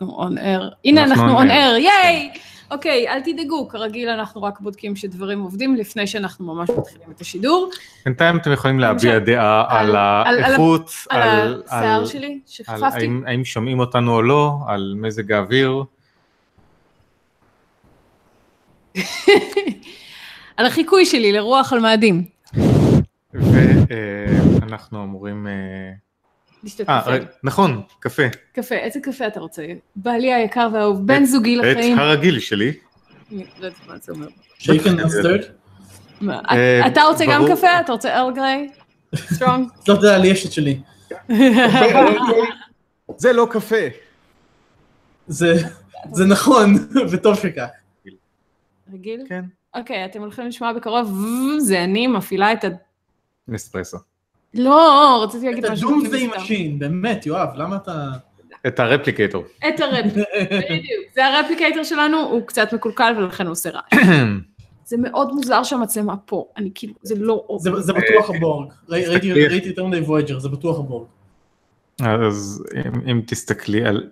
אנחנו און אייר. הנה אנחנו און אייר, ייי! אוקיי, אל תדאגו, כרגיל אנחנו רק בודקים שדברים עובדים לפני שאנחנו ממש מתחילים את השידור. בינתיים אתם יכולים להביע דעה על האיכות, על השיער שלי שחפפתי. האם שומעים אותנו או לא, על מזג האוויר. על החיקוי שלי לרוח על מאדים. ואנחנו אה, אמורים... אה, לשתות קפה. נכון, קפה. קפה, איזה קפה אתה רוצה? בעלי היקר והאהוב, בן זוגי לחיים. את הרגיל שלי. לא יודעת מה זה אומר. שייקן מוסטרד? אתה רוצה גם קפה? אתה רוצה ארל גריי? סטרונג? לא יודע, לי יש את שלי. זה לא קפה. זה נכון, וטוב שכך. רגיל? כן. אוקיי, אתם הולכים לשמוע בקרוב, זה אני מפעילה את ה... נספרסו. לא, רציתי להגיד משהו. את הדומסדיי משין, באמת, יואב, למה אתה... את הרפליקטור. את הרפליקטור, בדיוק. זה הרפליקטור שלנו, הוא קצת מקולקל ולכן הוא עושה רעש. זה מאוד מוזר שהמצלמה פה, אני כאילו, זה לא... זה בטוח הבורג. ראיתי יותר מדי וויג'ר, זה בטוח הבורג. אז אם תסתכלי על...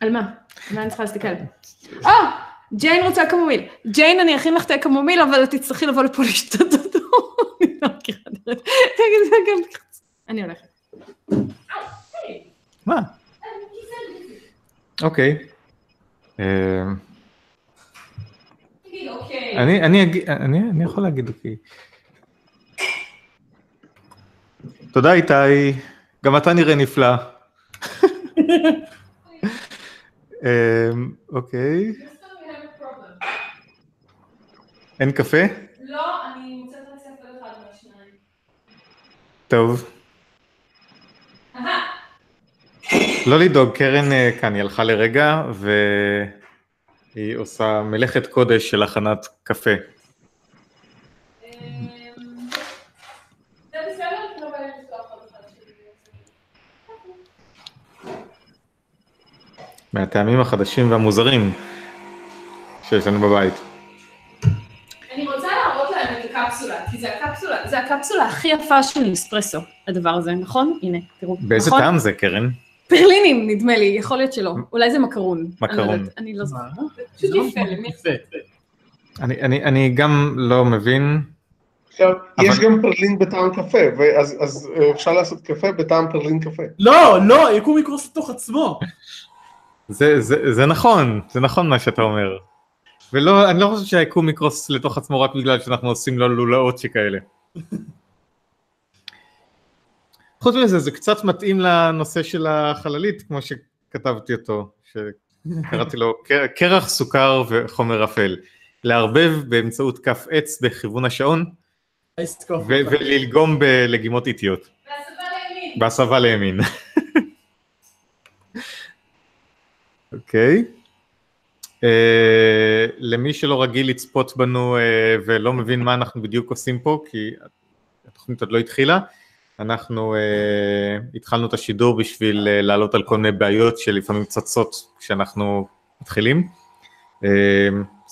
על מה? מה אני צריכה להסתכל? או! ג'יין רוצה קמומיל. ג'יין, אני אכין לך תה קמומיל, אבל תצטרכי לבוא לפה לשתות אותו. אני לא מכירה דרך. תגיד, זה גם... אני הולכת. מה? אוקיי. אה, אוקיי, אה. אני יכול להגיד אוקיי. תודה איתי, גם אתה נראה נפלא. אוקיי. אין קפה? לא, אני מוצאת רק ספר אחד מהשניים. טוב. לא לדאוג, קרן כאן, היא הלכה לרגע, והיא עושה מלאכת קודש של הכנת קפה. אמ, לא מהטעמים החדשים והמוזרים שיש לנו בבית. הקפסולה, כי זה הקפסולה, זה הקפסולה הכי יפה של נספרסו, הדבר הזה, נכון? הנה, תראו. באיזה נכון? טעם זה, קרן? פרלינים, נדמה לי, יכול להיות שלא. אולי זה מקרון. מקרון. אני לא זוכרת. פשוט יפה, למי אני גם לא מבין. עכשיו, יש גם פרלין בטעם קפה, אז אה, אפשר לעשות קפה בטעם פרלין קפה. לא, לא, יקום יקרוס לתוך עצמו. זה נכון, זה נכון מה שאתה אומר. ולא, אני לא חושב שהיקום יקרוס לתוך עצמו רק בגלל שאנחנו עושים לו לולאות שכאלה. חוץ מזה, זה קצת מתאים לנושא של החללית, כמו שכתבתי אותו, שקראתי לו קרח, סוכר וחומר אפל. לערבב באמצעות כף עץ בכיוון השעון, וללגום בלגימות איטיות. בהסבה לימין. אוקיי. Uh, למי שלא רגיל לצפות בנו uh, ולא מבין מה אנחנו בדיוק עושים פה, כי התוכנית עוד לא התחילה, אנחנו uh, התחלנו את השידור בשביל uh, לעלות על כל מיני בעיות שלפעמים צצות כשאנחנו מתחילים. Uh,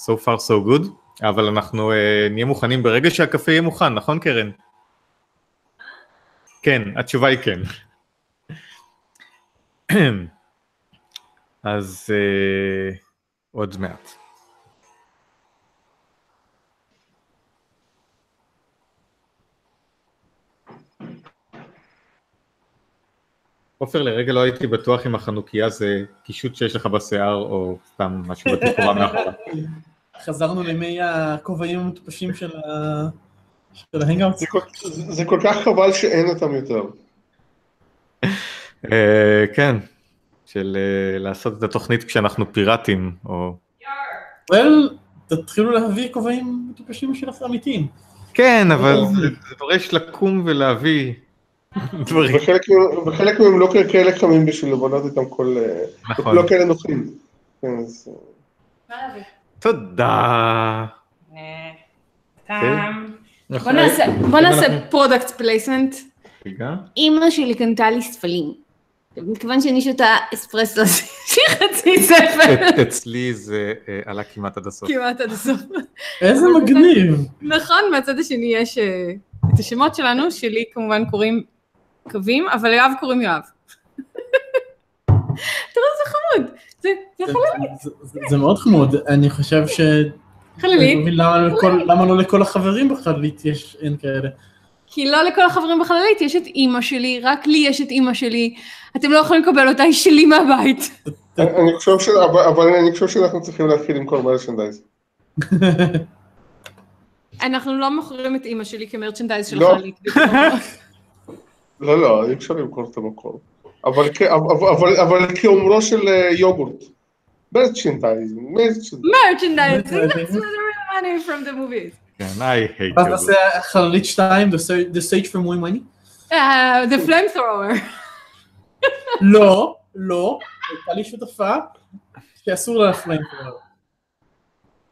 so far so good, אבל אנחנו uh, נהיה מוכנים ברגע שהקפה יהיה מוכן, נכון קרן? כן, התשובה היא כן. אז... Uh, עוד מעט. עופר, לרגע לא הייתי בטוח אם החנוכיה זה קישוט שיש לך בשיער או סתם משהו בתקורה מאחורה. חזרנו לימי הכובעים המטופשים של ההנגאוט. זה כל כך חבל שאין אותם יותר. כן, של uh, לעשות את התוכנית כשאנחנו פיראטים, או... well, תתחילו להביא כובעים מטופשים שלך אמיתיים. כן, אבל זה דורש לקום ולהביא דברים. וחלק מהם לא כאלה חמים בשביל לבנות אותם כל... נכון. לא כאלה נוחים. כן, תודה. כן. בוא נעשה פרודקט פלייסמנט. אימא שלי קנתה לי ספלים. מכיוון שאני שותה אספרסו, אז יש לי חצי ספר. אצלי זה אה, עלה כמעט עד הסוף. כמעט עד הסוף. איזה מגניב. נכון, מהצד השני יש אה, את השמות שלנו, שלי כמובן קוראים קווים, אבל ליואב קוראים יואב. תראו איזה חמוד. זה זה זה- חללית, זה- זה- זה מאוד חמוד, אני חושב ש... אני לא חללית. מבין למה לא לכל- למה לא לכל החברים בחללית יש, אין כאלה. כי לא לכל החברים בחללית יש את אימא שלי, רק לי יש את אימא שלי. אתם לא יכולים לקבל אותה, היא שלי מהבית. אני אה, אני חושב ש... אבל- אבל אני חושב שאנחנו צריכים להתחיל למכור מרשנדייז. אנחנו לא מוכרים את אימא שלי כמרצ'נדייז של לא. חללית. לא, לא, אי אפשר למכור את המקור. אבל כ- אבל- אבל- אבל כאומרו של אה, יוגורט. מרצ'נדייז, מרצ'נדייז. מרצ'נדייז, that's where the real money from the movies. כן, I hate ואז you. תעשה חללית 2, The Search- The Search for More Money? אה, the flamethrower. לא, לא, הייתה לי שותפה שאסור לה להפליים כבר.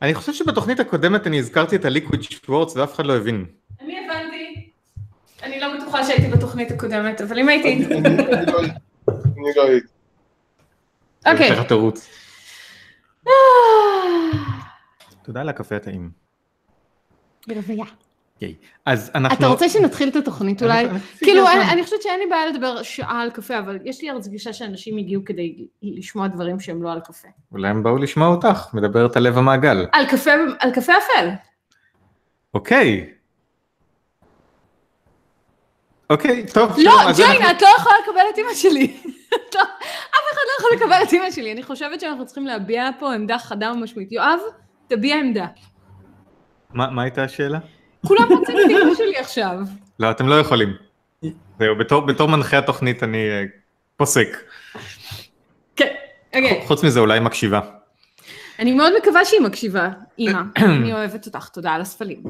אני חושב שבתוכנית הקודמת אני הזכרתי את הליקוויד שוורץ ואף אחד לא הבין. אני הבנתי. אני לא בטוחה שהייתי בתוכנית הקודמת, אבל אם הייתי... אני- אני לא הייתי. אני לא הייתי. אוקיי. יש לך תירוץ. תודה על הקפה הטעים. ברבייה. ייי. אז אנחנו... אתה רוצה שנתחיל את התוכנית אולי? לא- אני- אני- כאילו, הזמן. אני- אני חושבת שאין לי בעיה לדבר שעה על קפה, אבל יש לי הרגישה שאנשים הגיעו כדי לשמוע דברים שהם לא על קפה. אולי הם באו לשמוע אותך, מדברת על לב המעגל. על קפה על קפה אפל. אוקיי. אוקיי, טוב. לא, שלום, אז ג'יין, אנחנו- את לא יכולה לקבל את אימא שלי. את לא- אף אחד לא יכול לקבל את אימא שלי. אני חושבת שאנחנו צריכים להביע פה עמדה חדה ומשמעית. יואב, תביע עמדה. מה מה הייתה השאלה? כולם רוצים את אימא שלי עכשיו. לא, אתם לא יכולים. זהו, בתור- בתור מנחה התוכנית אני אה, פוסק. כן. אוקיי. חוץ מזה אולי מקשיבה. אני מאוד מקווה שהיא מקשיבה, אימא. אני אוהבת אותך, תודה על הספלים.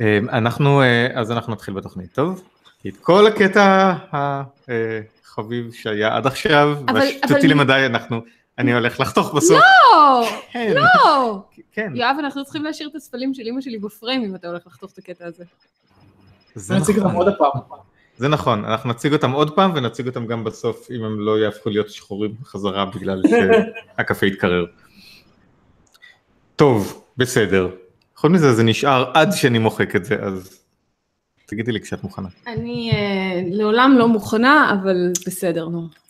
אה, אנחנו, אה, אז אנחנו נתחיל בתוכנית, טוב? כי את כל הקטע החביב שהיה עד עכשיו, אבל- והשטותי אבל- למדי, אנחנו, אני הולך לחתוך בסוף. לא, כן, לא. כן. יואב, אנחנו צריכים להשאיר את הספלים של אימא שלי בפריים אם אתה הולך לחתוך את הקטע הזה. זה אני אציג אותם נכון. עוד הפעם. זה נכון, אנחנו נציג אותם עוד פעם ונציג אותם גם בסוף, אם הם לא יהפכו להיות שחורים חזרה בגלל שהקפה יתקרר. טוב, בסדר. חוץ מזה זה נשאר עד שאני מוחק את זה, אז תגידי לי כשאת מוכנה. אני אה, לעולם לא מוכנה, אבל בסדר, נו.